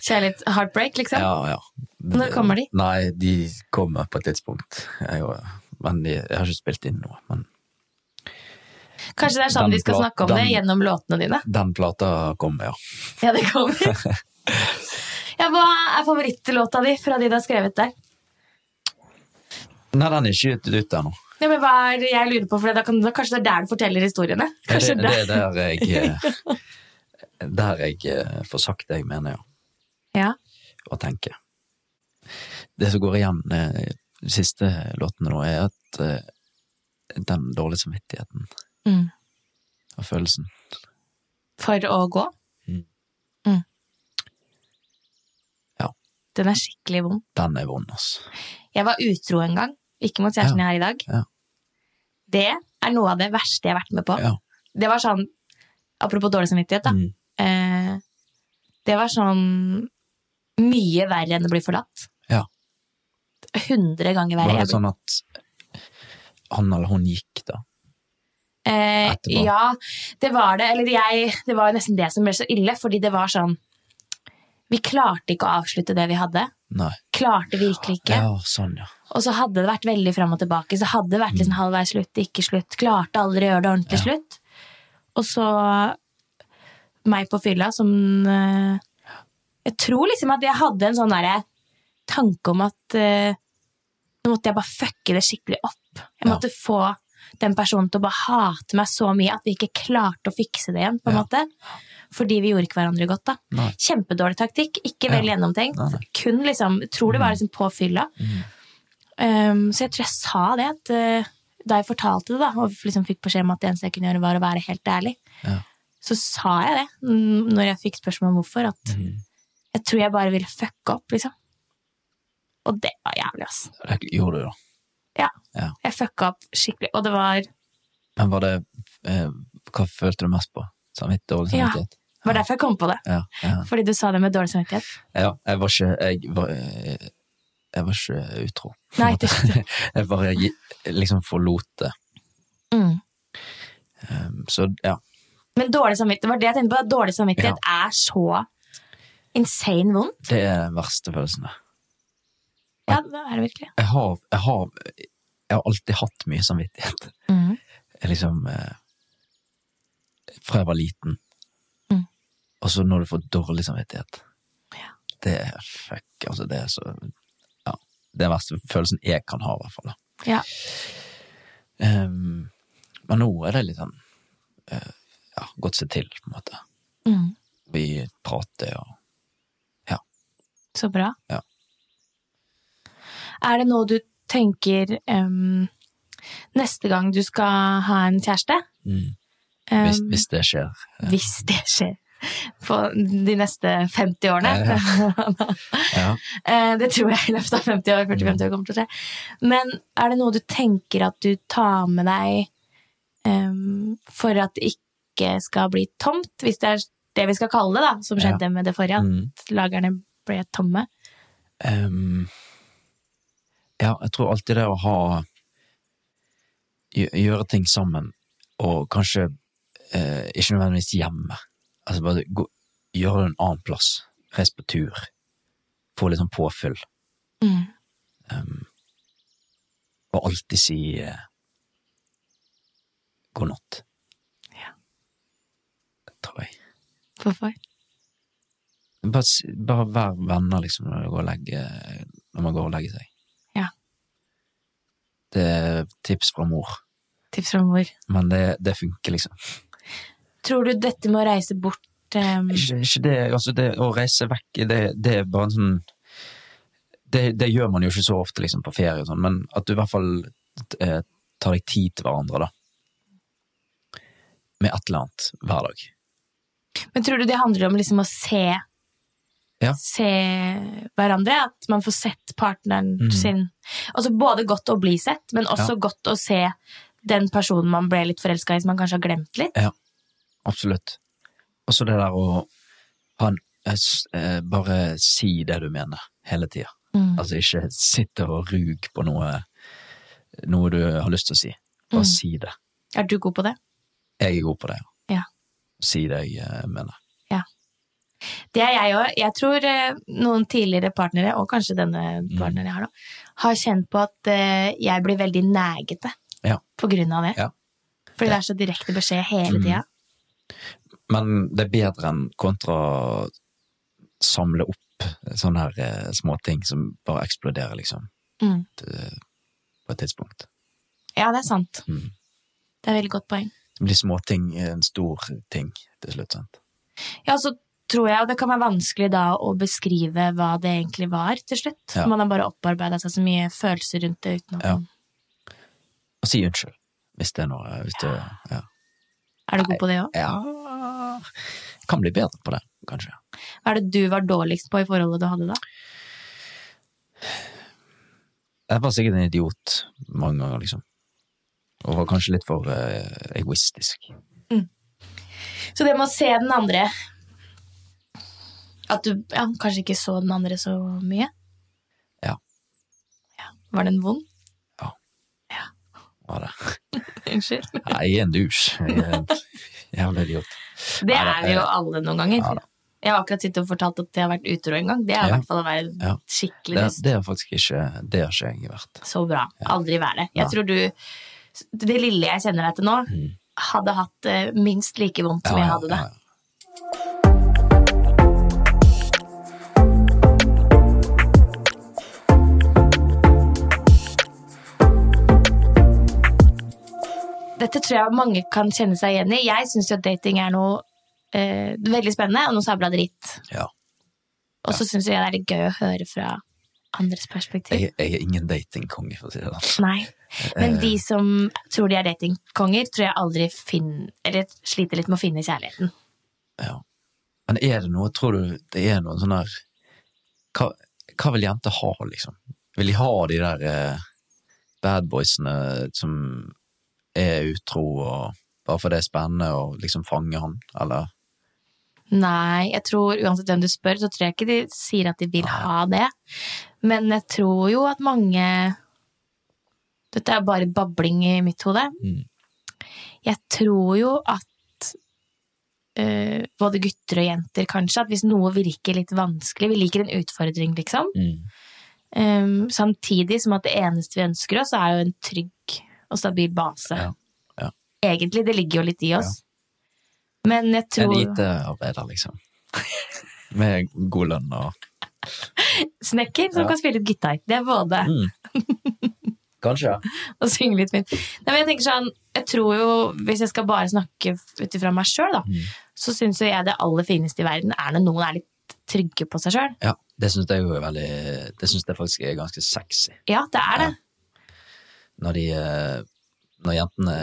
S4: Kjærlighet heartbreak, liksom?
S5: Ja, ja.
S4: Når kommer de?
S5: Nei, de kommer på et tidspunkt. Jeg, og- men de, jeg har ikke spilt inn noe. Men
S4: Kanskje det er sånn
S5: Den
S4: vi skal
S5: plat-
S4: snakke om det
S5: den-
S4: gjennom låtene dine?
S5: den plata kommer, ja.
S4: Ja, det kommer. ja, hva er favorittlåta di fra de du har skrevet der?
S5: Nei, den er ikke gitt ut ennå.
S4: Ja, men hva er det jeg lurer på, for da kan, da, Kanskje det er der du forteller historiene?
S5: Det,
S4: Kanskje
S5: det er der jeg eh, Der jeg eh, får sagt det jeg mener, ja.
S4: Ja.
S5: Og tenker. Det som går igjen eh, de siste låtene nå, er at eh, den dårlige samvittigheten
S4: Mm.
S5: og følelsen
S4: For å gå?
S5: Mm.
S4: Mm.
S5: Ja.
S4: Den er skikkelig vond.
S5: Den er vond, altså.
S4: Jeg var utro en gang, ikke mot kjæresten jeg har i dag.
S5: Ja.
S4: Det er noe av det verste jeg har vært med på.
S5: Ja.
S4: Det var sånn, apropos dårlig samvittighet da,
S5: Mm.
S4: eh, det var sånn mye verre enn å bli forlatt.
S5: Ja.
S4: Hundre ganger verre.
S5: Var
S4: Jeg
S5: det
S4: ble-
S5: sånn at han eller hun gikk, da?
S4: Eh,
S5: etterpå?
S4: ja, det var det. Eller jeg, det var jo nesten det som ble så ille, fordi det var sånn, vi klarte ikke å avslutte det vi hadde.
S5: Nei.
S4: Klarte virkelig ikke.
S5: Ja, sånn, ja.
S4: Og så hadde det vært veldig fram og tilbake. Så hadde det vært
S5: Mm.
S4: liksom halvveis slutt, ikke slutt. Klarte aldri å gjøre det ordentlig slutt. Og så meg på fylla som eh, Jeg tror liksom at jeg hadde en sånn derre tanke om at eh, nå måtte jeg bare fucke det skikkelig opp. Jeg
S5: Ja.
S4: måtte få den personen til å bare hate meg så mye at vi ikke klarte å fikse det igjen. på en
S5: Ja.
S4: måte. Fordi vi gjorde ikke hverandre godt. da.
S5: Nei.
S4: Kjempedårlig taktikk, ikke vel
S5: Ja.
S4: gjennomtenkt.
S5: Nei, Mm. nei.
S4: Kun liksom, Tror det var liksom på fylla. Um, så jeg tror jeg sa det at, eh, da jeg fortalte det, da, og liksom fikk beskjed om at det eneste jeg kunne gjøre, var å være helt ærlig,
S5: Ja.
S4: så sa jeg det mm, når jeg fikk spørsmål om hvorfor, at
S5: Mm.
S4: jeg tror jeg bare ville fucke opp, liksom. Og det var jævlig, ass.
S5: Det gjorde du, da.
S4: Jeg fucka opp skikkelig, og det var,
S5: Men var det eh, Hva følte du mest på? Samvitt, dårlig
S4: Ja.
S5: samvittighet?
S4: det var derfor jeg kom på det.
S5: Ja. ja.
S4: Fordi du sa det med dårlig samvittighet.
S5: Ja, jeg var ikke Jeg var, eh, jeg var ikke utro.
S4: Nei, det
S5: jeg bare gi- liksom forlot det.
S4: Mm.
S5: Um, så ja.
S4: Men dårlig samvittighet, det var det jeg tenkte på. at Dårlig samvittighet er så insane vondt.
S5: Det er den verste følelsen. det.
S4: Ja, det er det virkelig.
S5: Jeg har, jeg har, jeg har alltid hatt mye samvittighet.
S4: Mhm.
S5: Jeg liksom eh, Fra jeg var liten.
S4: Mhm.
S5: Og så når du får dårlig samvittighet.
S4: Ja.
S5: Det er fuck, altså. Det er så Ja. Det er den verste følelsen jeg kan ha, i hvert fall. da.
S4: Ja.
S5: Ehm, men nå er det litt sånn eh, ja, gått seg til, på en måte.
S4: Mhm.
S5: Vi prater og
S4: Så bra.
S5: Ja.
S4: Er det noe du tenker em, neste gang du skal ha en kjæreste? Em,
S5: hvis, hvis det skjer.
S4: hvis det skjer. På de neste 50 årene.
S5: Ja. Mm.
S4: Eh, det tror jeg i løpet av 50 år, 40-50 år kommer til å skje. Men er det noe du tenker at du tar med deg em, for at det ikke skal bli tomt? Hvis det er det vi skal kalle det, da, som
S5: Ja.
S4: skjedde med det forrige.
S5: Mm.
S4: At lagerne ble tomme.
S5: Ehm, ja, jeg tror alltid det å ha gjø- Gjøre ting sammen, og kanskje eh, ikke nødvendigvis hjemme. Altså bare gå, gjøre det en annen plass. Reis på tur. Få litt sånn påfyll.
S4: Mm.
S5: Ehm, og alltid si eh, god natt.
S4: Ja.
S5: Tror jeg.
S4: Hvorfor?
S5: Bare, s- bare vær venner, liksom, når, du går og legger, når man går og legger seg.
S4: Ja.
S5: Det er tips fra mor,
S4: Tips fra mor.
S5: men det, det funker, liksom.
S4: Tror du dette med å reise bort ehm, em,
S5: Ikke, ikke det, altså, det å reise vekk, det, det er bare en sånn det, det gjør man jo ikke så ofte, liksom, på ferie og sånn, men at du i hvert fall eh, tar deg tid til hverandre, da. Med et eller annet hver dag.
S4: Men tror du det handler om liksom å se
S5: Ja.
S4: Se hverandre? At man får sett partneren
S5: Mhm.
S4: sin Altså både godt å bli sett, men også godt å se den personen man ble litt forelska i, som man kanskje har glemt litt.
S5: Absolutt. Og så det der å ha en eh, s- eh, Bare si det du mener, hele tida.
S4: Mm.
S5: Altså ikke sitte og rug på noe, noe du har lyst til å si. Bare
S4: Mm.
S5: si det.
S4: Er du god på det?
S5: Jeg er god på det.
S4: Ja.
S5: Si det jeg eh, mener.
S4: Det er jeg òg. Jeg tror eh, noen tidligere partnere, og kanskje denne
S5: Mm.
S4: partneren jeg har nå, har kjent på at eh, jeg blir veldig negete
S5: Ja.
S4: på grunn av det.
S5: Ja. Mm.
S4: Fordi det er så direkte beskjed hele tida.
S5: Men det er bedre enn kontra å samle opp sånne her eh, småting som bare eksploderer, liksom.
S4: Mm.
S5: eh, På et tidspunkt.
S4: Ja, det er sant.
S5: Mm.
S4: Det er et veldig godt poeng.
S5: Det blir småting eh, en stor ting til slutt, sant.
S4: Ja, så tror jeg, og det kan være vanskelig da å beskrive hva det egentlig var til slutt.
S5: Ja.
S4: Man har bare opparbeida seg så mye følelser rundt det uten at
S5: Ja.
S4: man
S5: Og si unnskyld, hvis det er noe hvis det, ja.
S4: Er du god på det òg?
S5: ja Kan bli bedre på det, kanskje.
S4: Hva er det du var dårligst på i forholdet du hadde da?
S5: Jeg var sikkert en idiot mange ganger, liksom. Og var kanskje litt for eh, egoistisk.
S4: Så det med å se den andre At du ja, kanskje ikke så den andre så mye?
S5: Ja.
S4: ja. Var den vond?
S5: Var det.
S4: Unnskyld.
S5: Nei, jeg er en douche. Jeg er en Jævla idiot.
S4: Det
S5: Neida,
S4: er vi jo
S5: eh,
S4: alle noen ganger.
S5: ja da.
S4: jeg har akkurat sittet og fortalt at jeg har vært utro en gang. Det er i
S5: Ja.
S4: hvert fall å være
S5: Ja.
S4: skikkelig
S5: Det,
S4: dust.
S5: det har faktisk ikke Det har ikke jeg vært.
S4: Så bra. Aldri vær det. Jeg
S5: Ja. Mm.
S4: tror du Det lille jeg kjenner deg til nå, hadde hatt eh, minst like vondt som jeg hadde det.
S5: ja, ja.
S4: Dette tror jeg mange kan kjenne seg igjen i. Jeg syns jo at dating er noe eh, veldig spennende, og noe sabla dritt.
S5: Ja.
S4: Og så syns jeg det er litt gøy å høre fra andres perspektiv.
S5: Jeg, jeg er ingen datingkonge, for å si det sånn.
S4: Nei. Men de som tror de er datingkonger, tror jeg aldri finner Eller sliter litt med å finne kjærligheten.
S5: Ja. Men er det noe, tror du det er noen sånn der hva, hva vil jenter ha, liksom? Vil de ha de der eh, badboysene som er utro, og bare for det er spennende, og liksom fange han, eller?
S4: Nei, jeg tror uansett hvem du spør, så tror jeg ikke de sier at de vil ha det. Men jeg tror jo at
S5: Mm.
S4: mange Dette er bare babling i mitt hode. jeg tror jo at eh, både gutter og jenter, kanskje, at hvis noe virker litt vanskelig Vi liker en utfordring, liksom.
S5: Mm.
S4: Eh, samtidig som at det eneste vi ønsker oss, er jo en trygg og stabil base.
S5: Ja, ja.
S4: Egentlig. Det ligger jo litt i oss. Men jeg
S5: En
S4: tror
S5: IT-arbeider, liksom. Med god lønn og
S4: Snekker som
S5: Ja.
S4: kan spille litt gitar. Det er både
S5: mm. Kanskje.
S4: og synge litt fint. Nei, men jeg tenker sånn, jeg tror jo, hvis jeg skal bare snakke ut ifra meg sjøl, da,
S5: Mm.
S4: så syns jo jeg det aller fineste i verden er når noen er litt trygge på seg sjøl.
S5: Ja, det syns jeg jo er veldig Det syns jeg faktisk er ganske sexy.
S4: Ja, det er det.
S5: Når de eh, Når jentene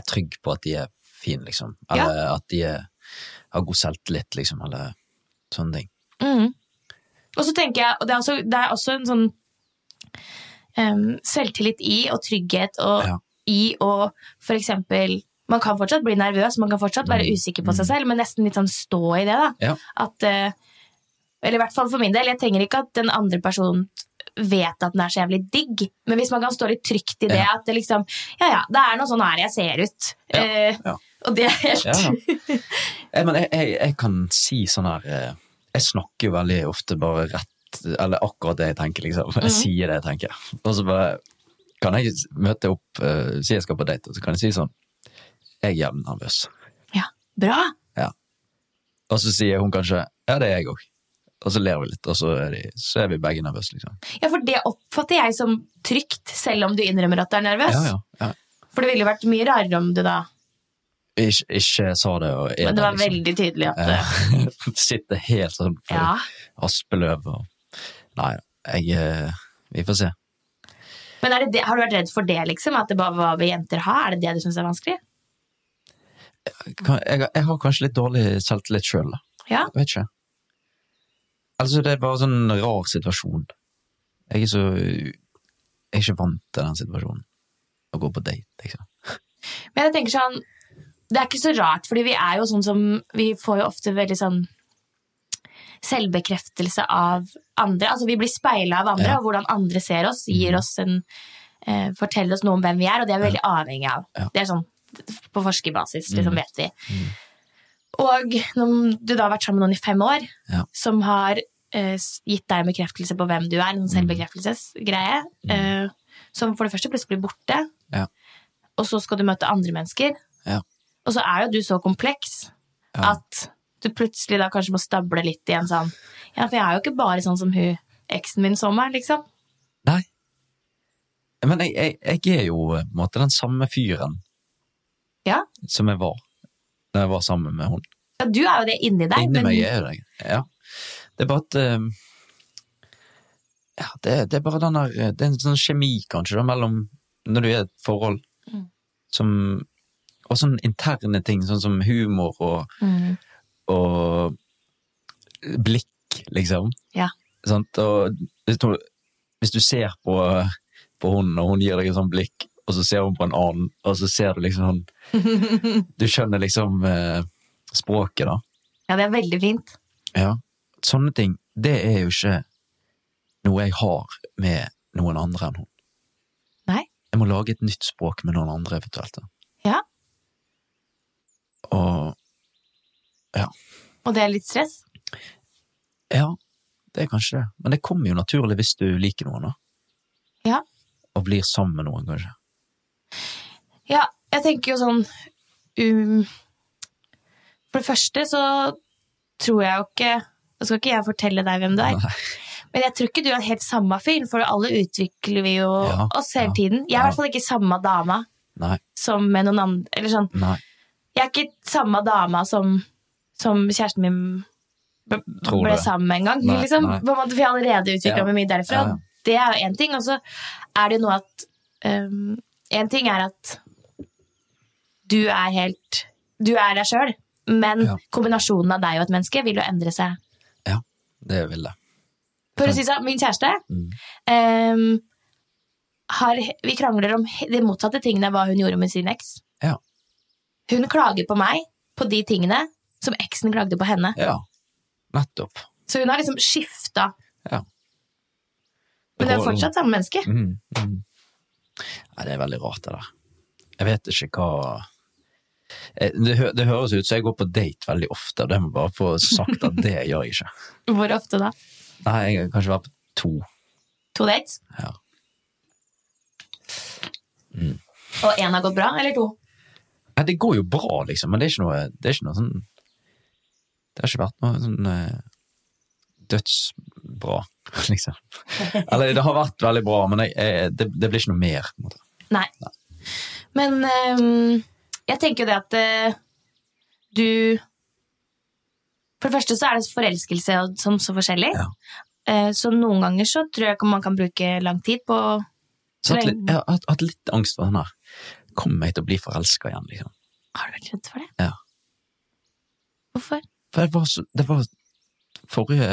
S5: er trygge på at de er fine, liksom. Eller at de er, har god selvtillit, liksom. Eller sånne ting.
S4: Mm. Og så tenker jeg, og det er også, det er også en sånn em, selvtillit i og trygghet og
S5: Ja.
S4: i og for eksempel man kan fortsatt bli nervøs, man kan fortsatt
S5: Mm.
S4: være usikker på seg selv, men nesten litt sånn stå i det. da.
S5: Ja.
S4: At, eh, eller i hvert fall for min del, jeg trenger ikke at den andre personen vet at den er så jævlig digg, men hvis man kan stå litt trygt i det,
S5: Ja.
S4: at det liksom Ja ja, det er noe sånn her jeg ser ut.
S5: Ja,
S4: Eh,
S5: ja.
S4: Og det er helt
S5: Ja, ja. Jeg, men jeg, jeg, jeg kan si sånn her eh, Jeg snakker jo veldig ofte bare rett Eller akkurat det jeg tenker, liksom. Jeg sier det jeg tenker. Og så bare kan jeg møte opp eh, Si jeg skal på date, og så kan jeg si sånn Jeg er jævlig nervøs.
S4: ja. Bra!
S5: Og så sier hun kanskje Ja, det er jeg òg. Og så ler vi litt, og så er, de, så er vi begge nervøse, liksom.
S4: Ja, for det oppfatter jeg som trygt, selv om du innrømmer at du er nervøs.
S5: Ja, ja, ja.
S4: For det ville jo vært mye rarere om du da
S5: Ikke, ikke sa det og er
S4: Men det var
S5: der, liksom.
S4: veldig tydelig at eh,
S5: Ja. Sitter helt sånn på
S4: Ja.
S5: aspeløv og Nei, jeg eh, Vi får se.
S4: Men er det det, har du vært redd for det, liksom? At det bare var vi jenter har? Er det det du syns er vanskelig?
S5: Kan- Jeg, jeg har kanskje litt dårlig selvtillit sjøl, da.
S4: Ja.
S5: Jeg vet ikke. Altså, det er bare sånn rar situasjon. Jeg er så Jeg er ikke vant til den situasjonen. Å gå på date, liksom.
S4: Men jeg tenker sånn Det er ikke så rart, fordi vi er jo sånn som Vi får jo ofte veldig sånn selvbekreftelse av andre. Altså vi blir speila av andre,
S5: Ja. Mm.
S4: og hvordan andre ser oss, gir oss en eh, Forteller oss noe om hvem vi er, og det er vi veldig avhengig av.
S5: Ja. Mm.
S4: Det er sånn på forskerbasis, liksom vet vi. Og når du da har vært sammen med noen i fem år,
S5: Ja.
S4: som har eh, s- gitt deg en bekreftelse på hvem du er, en sånn
S5: Mm.
S4: selvbekreftelsesgreie, eh, som for det første plutselig blir borte,
S5: Ja.
S4: og så skal du møte andre mennesker,
S5: Ja.
S4: og så er jo du så kompleks
S5: Ja.
S4: at du plutselig da kanskje må stable litt i en sånn Ja, for jeg er jo ikke bare sånn som hun eksen min så meg, liksom.
S5: Nei. Men jeg, jeg, jeg er jo eh, på en måte den samme fyren
S4: Ja,
S5: som jeg var da jeg var sammen med hun.
S4: ja du er jo det inni deg,
S5: Inni
S4: men
S5: meg er jo det. Ja. Det er bare at eh, ja, det, det er bare den der eh, Det er en sånn kjemi, kanskje, da, mellom når du er i et forhold
S4: Mm.
S5: som Og sånne interne ting, sånn som humor og,
S4: Mm.
S5: og blikk, liksom.
S4: Ja.
S5: Sant? Og hvis du, hvis du ser på, på hun, og hun gir deg et sånt blikk, og så ser hun på en annen, og så ser du liksom sånn Du skjønner liksom eh, språket, da.
S4: ja, det er veldig fint.
S5: Ja. Sånne ting, det er jo ikke noe jeg har med noen andre enn hun.
S4: Nei.
S5: Jeg må lage et nytt språk med noen andre, eventuelt. da.
S4: Ja,
S5: Og
S4: og det er litt stress.
S5: ja, det er kanskje det. Men det kommer jo naturlig hvis du liker noen, da.
S4: Ja.
S5: Og blir sammen med noen, kanskje.
S4: Ja, jeg tenker jo sånn um, For det første så tror jeg jo ikke Nå skal ikke jeg fortelle deg hvem du er, men jeg tror ikke du er helt samme fyr, for alle utvikler vi jo
S5: Ja,
S4: oss hele
S5: ja,
S4: tiden. Jeg er i
S5: ja.
S4: hvert fall ikke samme dama
S5: Nei.
S4: som med noen andre Eller sånn,
S5: Nei.
S4: jeg er ikke samme dama som, som kjæresten min b-
S5: Tror
S4: ble
S5: det.
S4: sammen med en gang.
S5: Nei,
S4: liksom.
S5: nei.
S4: På en måte, for jeg har allerede utvikla
S5: Ja.
S4: meg mye derfra.
S5: Ja, ja.
S4: Det er jo én ting. Og så er det jo noe at um, En ting er at du er helt Du er deg sjøl, men
S5: Ja.
S4: kombinasjonen av deg og et menneske vil jo endre seg.
S5: Ja, det vil jeg.
S4: For å si sånn, min kjæreste
S5: Mm.
S4: em, har, Vi krangler om he- de motsatte tingene av hva hun gjorde med sin eks.
S5: Ja.
S4: Hun klager på meg på de tingene som eksen klagde på henne.
S5: ja. Nettopp.
S4: Så hun har liksom skifta.
S5: Ja.
S4: Men det er
S5: Rollen.
S4: fortsatt samme menneske.
S5: Mm, mm. Nei, det er veldig rart, det der. Jeg vet ikke hva eh, det, hø det høres ut som jeg går på date veldig ofte, og det må jeg bare få sagt at det gjør jeg ikke.
S4: Hvor ofte da?
S5: Nei, jeg har kanskje vært på to.
S4: To dates?
S5: Ja.
S4: Og én har gått bra, eller to?
S5: Nei, det går jo bra, liksom, men det er ikke noe, det er ikke noe sånn Det har ikke vært noe sånn eh, dødsbra, liksom. Eller det har vært veldig bra, men jeg, jeg, det, det blir ikke noe mer. på en måte.
S4: Nei. Men ehm, jeg tenker jo det at eh, du For det første så er det forelskelse og sånn så forskjellig.
S5: Ja.
S4: Eh, så noen ganger så tror jeg ikke man kan bruke lang tid på
S5: Så jeg har hatt litt-
S4: Trenger-
S5: jeg har hatt- hatt litt angst for den her. Kommer jeg til å bli forelska igjen, liksom?
S4: Har du vært redd for det?
S5: Ja.
S4: Hvorfor?
S5: For det var, så, det var forrige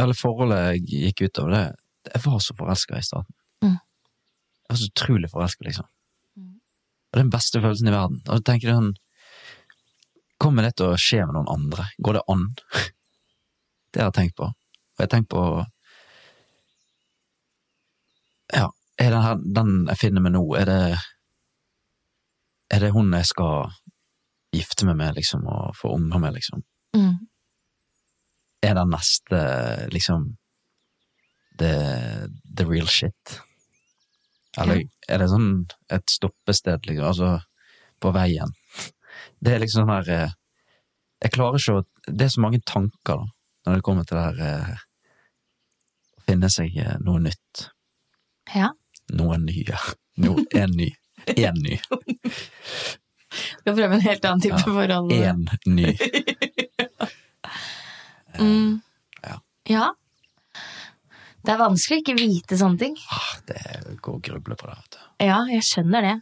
S5: Eller forholdet jeg gikk ut av det Jeg var så forelska i starten.
S4: Mm.
S5: Jeg var så utrolig forelska, liksom. Og det er den beste følelsen i verden. Og da tenker jeg sånn Kommer det til å skje med noen andre? Går det an? Det har jeg tenkt på. Og jeg har tenkt på Ja, er den, her, den jeg finner meg nå, er det Er det hun jeg skal gifte meg med, liksom, og få unger med, liksom? Er den neste, liksom The, the real shit? Eller er det sånn et stoppested, liksom, altså på veien? Det er liksom sånn her eh, Jeg klarer ikke å Det er så mange tanker, da, når det kommer til det her eh, Å finne seg eh, noe nytt.
S4: Ja.
S5: Noe nye. Noe, en ny. En ny.
S4: Skal prøve en helt annen type forhold.
S5: En ny.
S4: Mm.
S5: Ja.
S4: ja. Det er vanskelig å ikke vite sånne ting.
S5: Ah, det går å gruble på det, vet du.
S4: Ja, jeg skjønner det.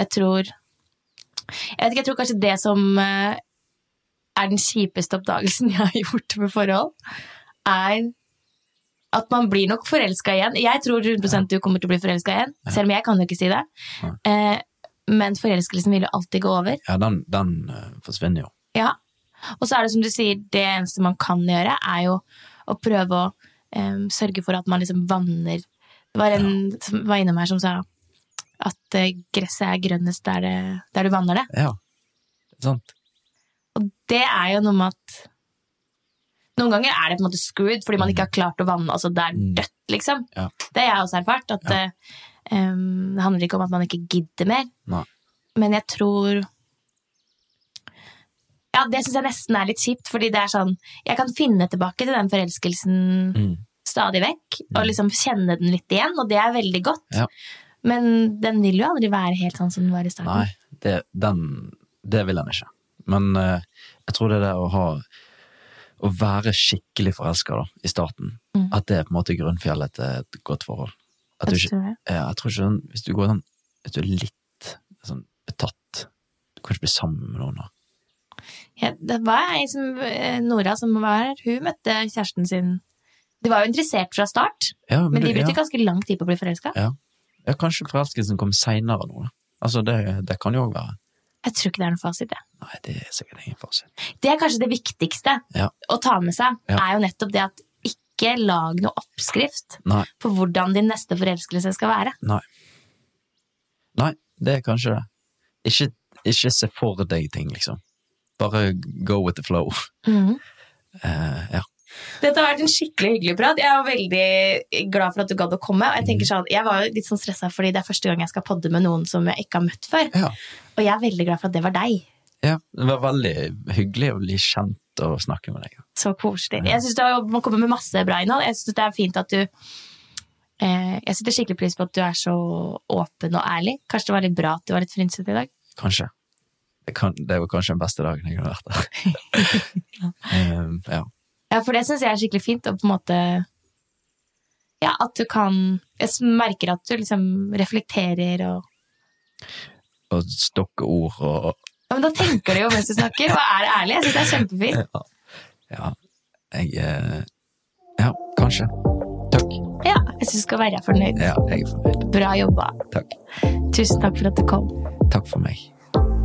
S4: Jeg tror Jeg vet ikke, jeg tror kanskje det som eh, er den kjipeste oppdagelsen jeg har gjort med forhold, er at man blir nok forelska igjen. Jeg tror 100 du kommer til å bli forelska igjen, selv om jeg kan jo ikke si det. Eh, Men forelskelsen vil jo alltid gå over.
S5: Ja, den, den eh, forsvinner jo.
S4: Ja. Og så er det som du sier, det eneste man kan gjøre, er jo å prøve å em, sørge for at man liksom vanner Det var en som var innom her som sa at eh, gresset er grønnest der, det, der du vanner det.
S5: Ja. Sant?
S4: Og det er jo noe med at Noen ganger er det på en måte screwed fordi man ikke har klart å vanne. Altså det er dødt, liksom.
S5: Ja.
S4: Det har jeg også erfart. At eh, em, det handler ikke om at man ikke gidder mer.
S5: Nei.
S4: Men jeg tror Ja, det syns jeg nesten er litt kjipt, fordi det er sånn Jeg kan finne tilbake til den forelskelsen
S5: Mm.
S4: stadig vekk, og liksom kjenne den litt igjen, og det er veldig godt.
S5: Ja.
S4: Men den vil jo aldri være helt sånn som den var i
S5: Nei,
S4: starten.
S5: det, den, det vil han ikke. Men eh, jeg tror det der å ha Å være skikkelig forelska da, i starten, at det er på en måte grunnfjellet til et godt forhold. At
S4: Mm.
S5: du
S4: Jeg
S5: ikke,
S4: tror det.
S5: ja, jeg tror ikke sånn, Hvis du går sånn Hvis du er litt sånn betatt Du kan ikke bli sammen med noen da.
S4: Ja, det var ei som eh, Nora som var her, hun møtte kjæresten sin De var jo interessert fra start,
S5: Ja,
S4: men de
S5: du-
S4: brukte
S5: ja.
S4: ganske lang tid på å bli forelska.
S5: Ja. ja, kanskje forelskelsen kom seinere nå. da. Altså, det, det kan jo òg være.
S4: Jeg tror ikke det er noen fasit, det.
S5: Nei, det er sikkert ingen fasit.
S4: Det er kanskje det viktigste
S5: Ja.
S4: å ta med seg,
S5: Ja.
S4: er jo nettopp det at ikke lag noe oppskrift
S5: Nei.
S4: på hvordan din neste forelskelse skal være.
S5: Nei. Nei, det er kanskje det. Ikke, ikke se for deg ting, liksom. Bare go with the flow. Eh, ja.
S4: Dette har vært en skikkelig hyggelig prat. Jeg er veldig glad for at du gadd å komme. Og jeg,
S5: Mm.
S4: tenker sånn, jeg var jo litt sånn stressa fordi det er første gang jeg skal podde med noen som jeg ikke har møtt før.
S5: Ja.
S4: Og jeg er veldig glad for at det var deg.
S5: ja. Det var veldig hyggelig å bli kjent og snakke med deg.
S4: Så koselig. Jeg synes det har- Man kommer med masse bra innhold. Jeg synes det er fint at du eh, Jeg setter skikkelig pris på at du er så åpen og ærlig. Kanskje det var litt bra at du var litt frynsete i dag.
S5: Kanskje. Det, kan, det var kanskje den beste dagen jeg kunne vært der. Eh, ja.
S4: Ja, For det syns jeg er skikkelig fint. Og på en måte Ja, at du kan Jeg s- merker at du liksom reflekterer og
S5: Og stokke ord og
S4: ja, Men da tenker du jo mens du snakker, og er ærlig. Jeg syns det er kjempefint.
S5: Ja. ja. Jeg eh, Ja, kanskje. Takk.
S4: Ja, jeg syns du skal være fornøyd.
S5: Ja, jeg er fornøyd.
S4: Bra jobba.
S5: Takk.
S4: Tusen takk for at du kom.
S5: Takk for meg.